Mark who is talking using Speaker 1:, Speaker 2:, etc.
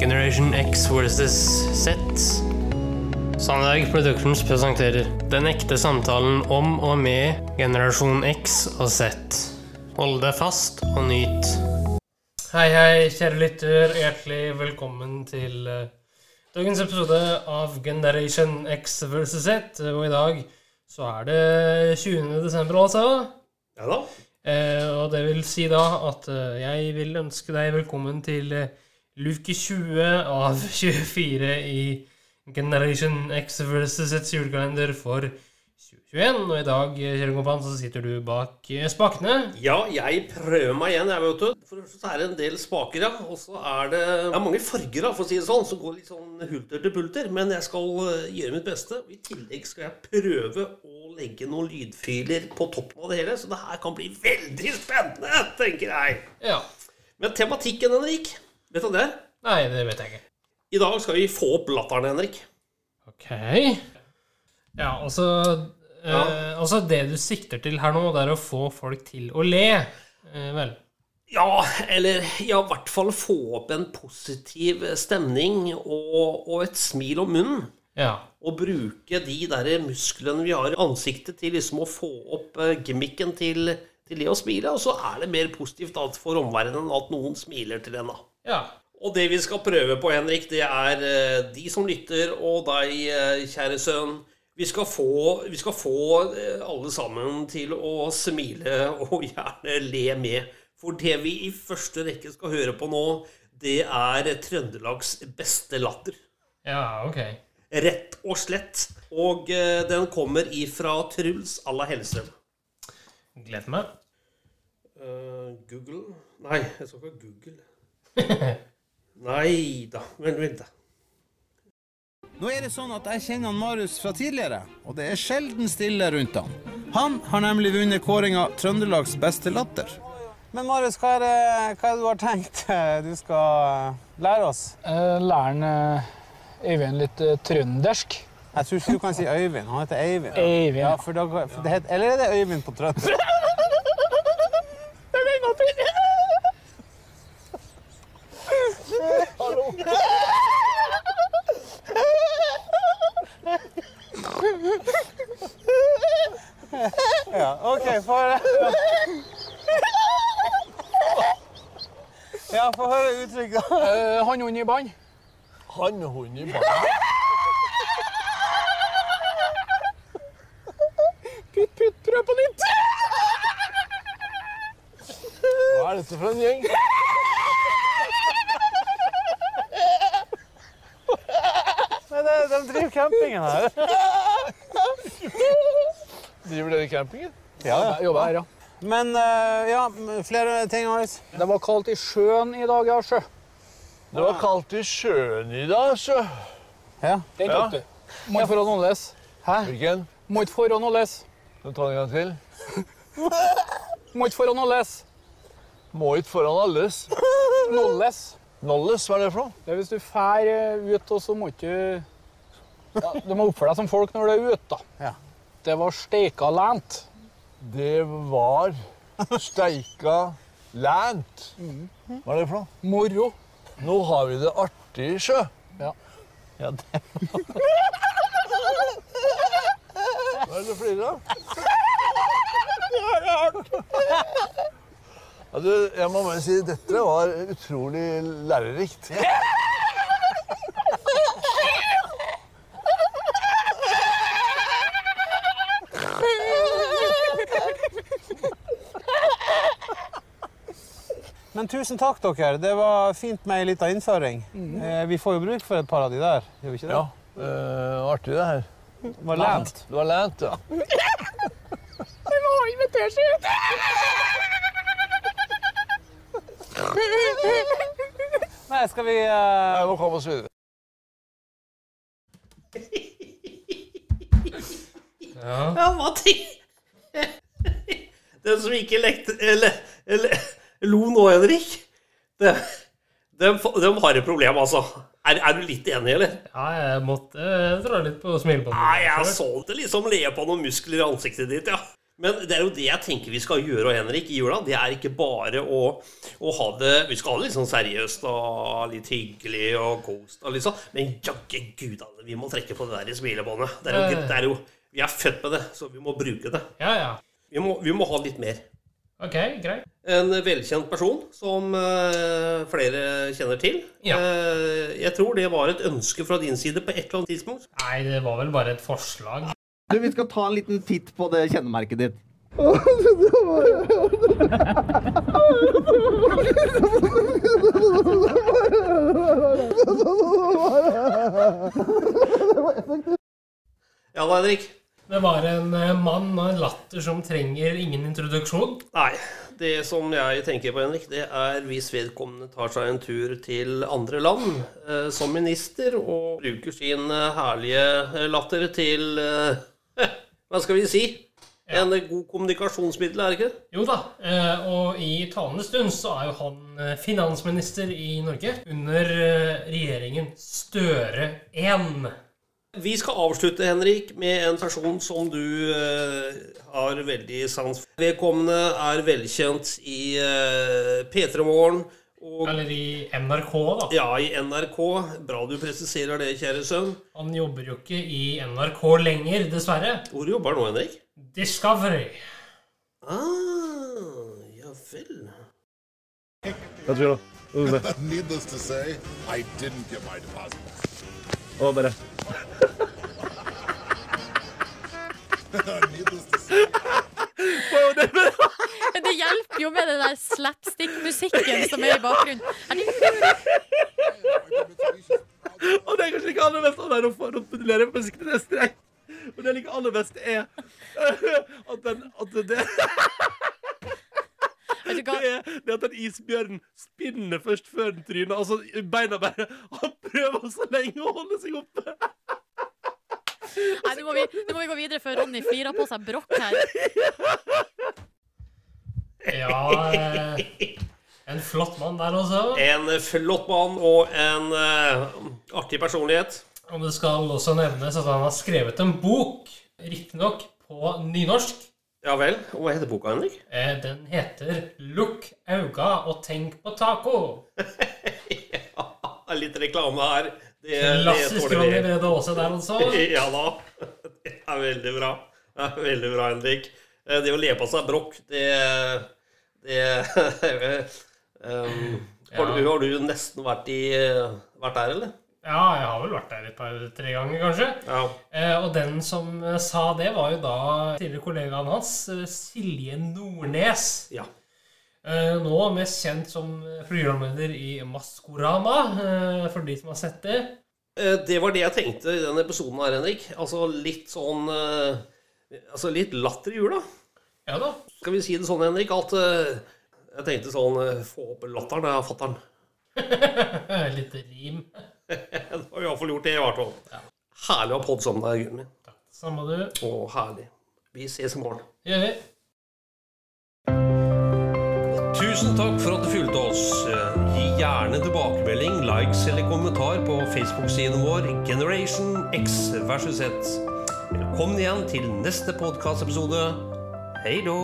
Speaker 1: Generation X versus Z. Sandberg Productions presenterer Den ekte samtalen om og med generasjon X og Z. Hold deg fast og nyt. Hei, hei, kjære lytter. Hjertelig velkommen til eh, dagens episode av Generation X versus Z. Og i dag så er det 20. desember, altså.
Speaker 2: Ja da.
Speaker 1: Eh, og det vil si da at eh, jeg vil ønske deg velkommen til eh, luke 20 av 24 i Generation X versus Z's julekalender for 2021. Og i dag, eh, kjære kompan, så sitter du bak eh, spakene.
Speaker 2: Ja, jeg prøver meg igjen. jeg vet du. For det første så er det en del spaker, ja. Og så er det, det er mange farger, da, for å si det sånn, som går litt sånn hulter til pulter. Men jeg skal eh, gjøre mitt beste. I tillegg skal jeg prøve å legge noen lydfiler på toppen av det hele. Så det her kan bli veldig spennende, tenker jeg.
Speaker 1: Ja.
Speaker 2: Men tematikken, Henrik, vet du det?
Speaker 1: Nei, det vet jeg ikke.
Speaker 2: I dag skal vi få opp latteren, Henrik.
Speaker 1: Ok. Ja, altså eh,
Speaker 2: Ja.
Speaker 1: Altså, det du sikter til her nå, det er å få folk til å le. Eh, vel.
Speaker 2: Ja, eller ja, i hvert fall få opp en positiv stemning og, og et smil om munnen.
Speaker 1: Ja.
Speaker 2: Å bruke de der musklene vi har i ansiktet til liksom å få opp eh, gimmicken til, til det å smile. Og så er det mer positivt at for omverdenen at noen smiler til en, da.
Speaker 1: Ja.
Speaker 2: Og det vi skal prøve på, Henrik, det er eh, de som lytter, og deg, eh, kjære sønn. Vi skal få, vi skal få eh, alle sammen til å smile og gjerne le med. For det vi i første rekke skal høre på nå, det er Trøndelags beste latter.
Speaker 1: Ja, ok.
Speaker 2: Rett og slett. Og eh, den kommer ifra Truls à la Hellstrøm.
Speaker 1: Gleder meg.
Speaker 2: Eh, Google Nei, jeg skal ikke Google. Nei da. Vent, vent, da.
Speaker 3: Nå er det sånn at jeg kjenner han Marius fra tidligere, og det er sjelden stille rundt han. Han har nemlig vunnet kåringa Trøndelags beste latter. Men Marius, hva er, det, hva er det du har tenkt eh, du skal lære oss?
Speaker 4: Eh, Lærer han eh, Øyvind litt eh, trøndersk?
Speaker 3: Jeg tror ikke du kan si Øyvind. Han heter Eivind.
Speaker 4: Øyvind.
Speaker 3: Ja, for da, for det heter, eller er det Øyvind på trønder? Ja, OK, få høre. Ja, få høre uttrykk, da.
Speaker 4: Eh, Han hunden i bånd?
Speaker 3: Han og hunden i bånd.
Speaker 4: Putt, putt, prøv på nytt!
Speaker 3: Hva er dette for en gjeng? Men eh, de, de driver campingen her.
Speaker 4: Driver dere campingen?
Speaker 3: Ja, ja.
Speaker 4: Jeg jobber her, ja.
Speaker 3: Men eh, ja, flere ting, Marius.
Speaker 4: Det var kaldt i sjøen i dag, ja, sjø.
Speaker 5: Det var kaldt i sjøen i dag, så.
Speaker 3: Ja.
Speaker 4: Den
Speaker 5: Ja.
Speaker 4: tok du. Må ikke forholde noe les.
Speaker 5: Hvilken?
Speaker 4: Må ikke forholde noe les.
Speaker 5: Nå tar jeg en gang til.
Speaker 4: Må ikke forholde noe les.
Speaker 5: Må ikke foran alles.
Speaker 4: Noe les.
Speaker 5: Nolles, hva er det for noe?
Speaker 4: Det er hvis du fær eh, ut, og så må ikke ja, Du må oppføre deg som folk når du er ute, da.
Speaker 3: Ja.
Speaker 4: Det var steika lent.
Speaker 5: Det var steika lænt. Hva er det for noe?
Speaker 4: Moro.
Speaker 5: Nå har vi det artig i sjø.
Speaker 4: Ja.
Speaker 5: Ja, det var... Hva er det du flirer av? Ja, du, jeg må bare si, dette var utrolig lærerikt.
Speaker 3: Men tusen takk, dere. Det var fint med ei lita innføring. Eh, vi får jo bruk for et par av de der. Gjør vi ikke det?
Speaker 5: Ja, eh, artig det her.
Speaker 3: Det var lent.
Speaker 5: Du har lært, ja.
Speaker 3: Nei, skal vi eh,
Speaker 5: Jeg må komme oss videre.
Speaker 1: Ja.
Speaker 2: Ja, hva tenk... Den som ikke lekte Eller, eller lo nå, Henrik. De, har et problem, altså. Er, er du litt enig, eller?
Speaker 1: ja, jeg måtte eh, dra litt på smilebåndet.
Speaker 4: Ah,
Speaker 2: Nei, jeg så det liksom le på noen muskler i ansiktet ditt, ja. Men det er jo det jeg tenker vi skal gjøre, og Henrik, i jula. Det er ikke bare å, å ha det Vi skal ha det litt sånn seriøst og litt hyggelig og ghost og litt sånn, men jaggu gud, alle, vi må trekke på det der i smilebåndet. Det er jo, det er jo Vi er født med det, så vi må bruke det.
Speaker 1: Ja, ja.
Speaker 2: Vi må, vi må ha litt mer.
Speaker 1: Ok, greit.
Speaker 2: En velkjent person som eh, flere kjenner til.
Speaker 1: Ja.
Speaker 2: Eh, jeg tror det var et ønske fra din side på et eller annet tidspunkt.
Speaker 1: Nei, det var vel bare et forslag.
Speaker 6: Du, vi skal ta en liten titt på det kjennemerket ditt.
Speaker 2: Ja da, Henrik.
Speaker 1: Det var en eh, mann og en latter som trenger ingen introduksjon.
Speaker 2: Nei. Det som jeg tenker på, Henrik, det er hvis vedkommende tar seg en tur til andre land eh, som minister og bruker sin eh, herlige eh, latter til eh, Hva skal vi si? En eh, god kommunikasjonsmiddel, er det ikke det?
Speaker 1: Jo da, eh, og i talende stund så er jo han eh, finansminister i Norge under eh, regjeringen Støre 1.
Speaker 2: Vi skal avslutte, Henrik, med en person som du eh, har veldig sans for. Vedkommende er velkjent i eh, P3 Morgen og
Speaker 1: Eller i NRK, da.
Speaker 2: ja, i NRK. Bra du presiserer det, kjære sønn.
Speaker 1: Han jobber jo ikke i NRK lenger, dessverre.
Speaker 2: Hvor jobber han nå, Henrik?
Speaker 1: Discovery.
Speaker 2: Ah, ja vel.
Speaker 7: Jeg tror det.
Speaker 8: Needless to say, I didn't get my deposit.
Speaker 7: Og bare
Speaker 8: Needless to say,
Speaker 9: Men det hjelper jo med den der slapstick-musikken som er i bakgrunnen. Er det-
Speaker 7: Og det er kanskje ikke aller best å være å få manipulere musikken til neste gang. Men det jeg liker aller best, er at, den, at det, det,
Speaker 9: Vet du
Speaker 7: det,
Speaker 9: hva?
Speaker 7: er, det er at den isbjørnen spinner først før den tryner. Altså, beina bare Han prøver så lenge å holde seg oppe.
Speaker 9: Nei, nå må vi, nå må vi gå videre før Ronny firer på seg brokk her.
Speaker 1: Ja, eh, en flott mann der også.
Speaker 2: En flott mann og en eh, artig personlighet.
Speaker 1: Og det skal også nevnes at han har skrevet en bok, riktignok på nynorsk.
Speaker 2: Ja vel. Hva heter boka, Henrik?
Speaker 1: Eh, Den heter 'Lukk auga og tenk på taco'.
Speaker 2: Litt reklame her. Det, det
Speaker 1: Klassisk
Speaker 2: tåler
Speaker 1: Ronny
Speaker 2: vi.
Speaker 1: Brede Aase der, altså.
Speaker 2: Ja da. Det er veldig bra. Det er veldig bra, Henrik. Eh, Det å le på seg brokk, det, det um, har, du, har du nesten vært, i, vært der, eller?
Speaker 1: Ja, jeg har vel vært der et par-tre ganger, kanskje.
Speaker 2: Ja.
Speaker 1: Eh, og den som eh, sa det, var jo da tidligere kollegaen hans, eh, Silje Nordnes.
Speaker 2: ja.
Speaker 1: Eh, Nå mest kjent som eh, programleder i Maskorama, eh, for de som har sett det.
Speaker 2: Eh, Det var det jeg tenkte i denne episoden her, Henrik. Altså litt sånn eh, Altså litt latter i jula.
Speaker 1: Ja da.
Speaker 2: Skal vi si det sånn, Henrik, at eh, jeg tenkte sånn eh, Få opp latteren, ja, fatter'n.
Speaker 1: Litt Eh, rim.
Speaker 2: Ja, Da har vi iallfall gjort det, i hvert fall. Herlig å ha podd sammen med deg, gutten min.
Speaker 1: Samme du.
Speaker 2: Å, herlig. Vi ses i morgen.
Speaker 1: Det Gjør vi.
Speaker 2: Tusen takk for at du fulgte oss. Eh, Gi gjerne tilbakemelding, likes eller kommentar på Facebook-siden vår Generation X versus Z. Velkommen igjen til neste podkastepisode. Hei då!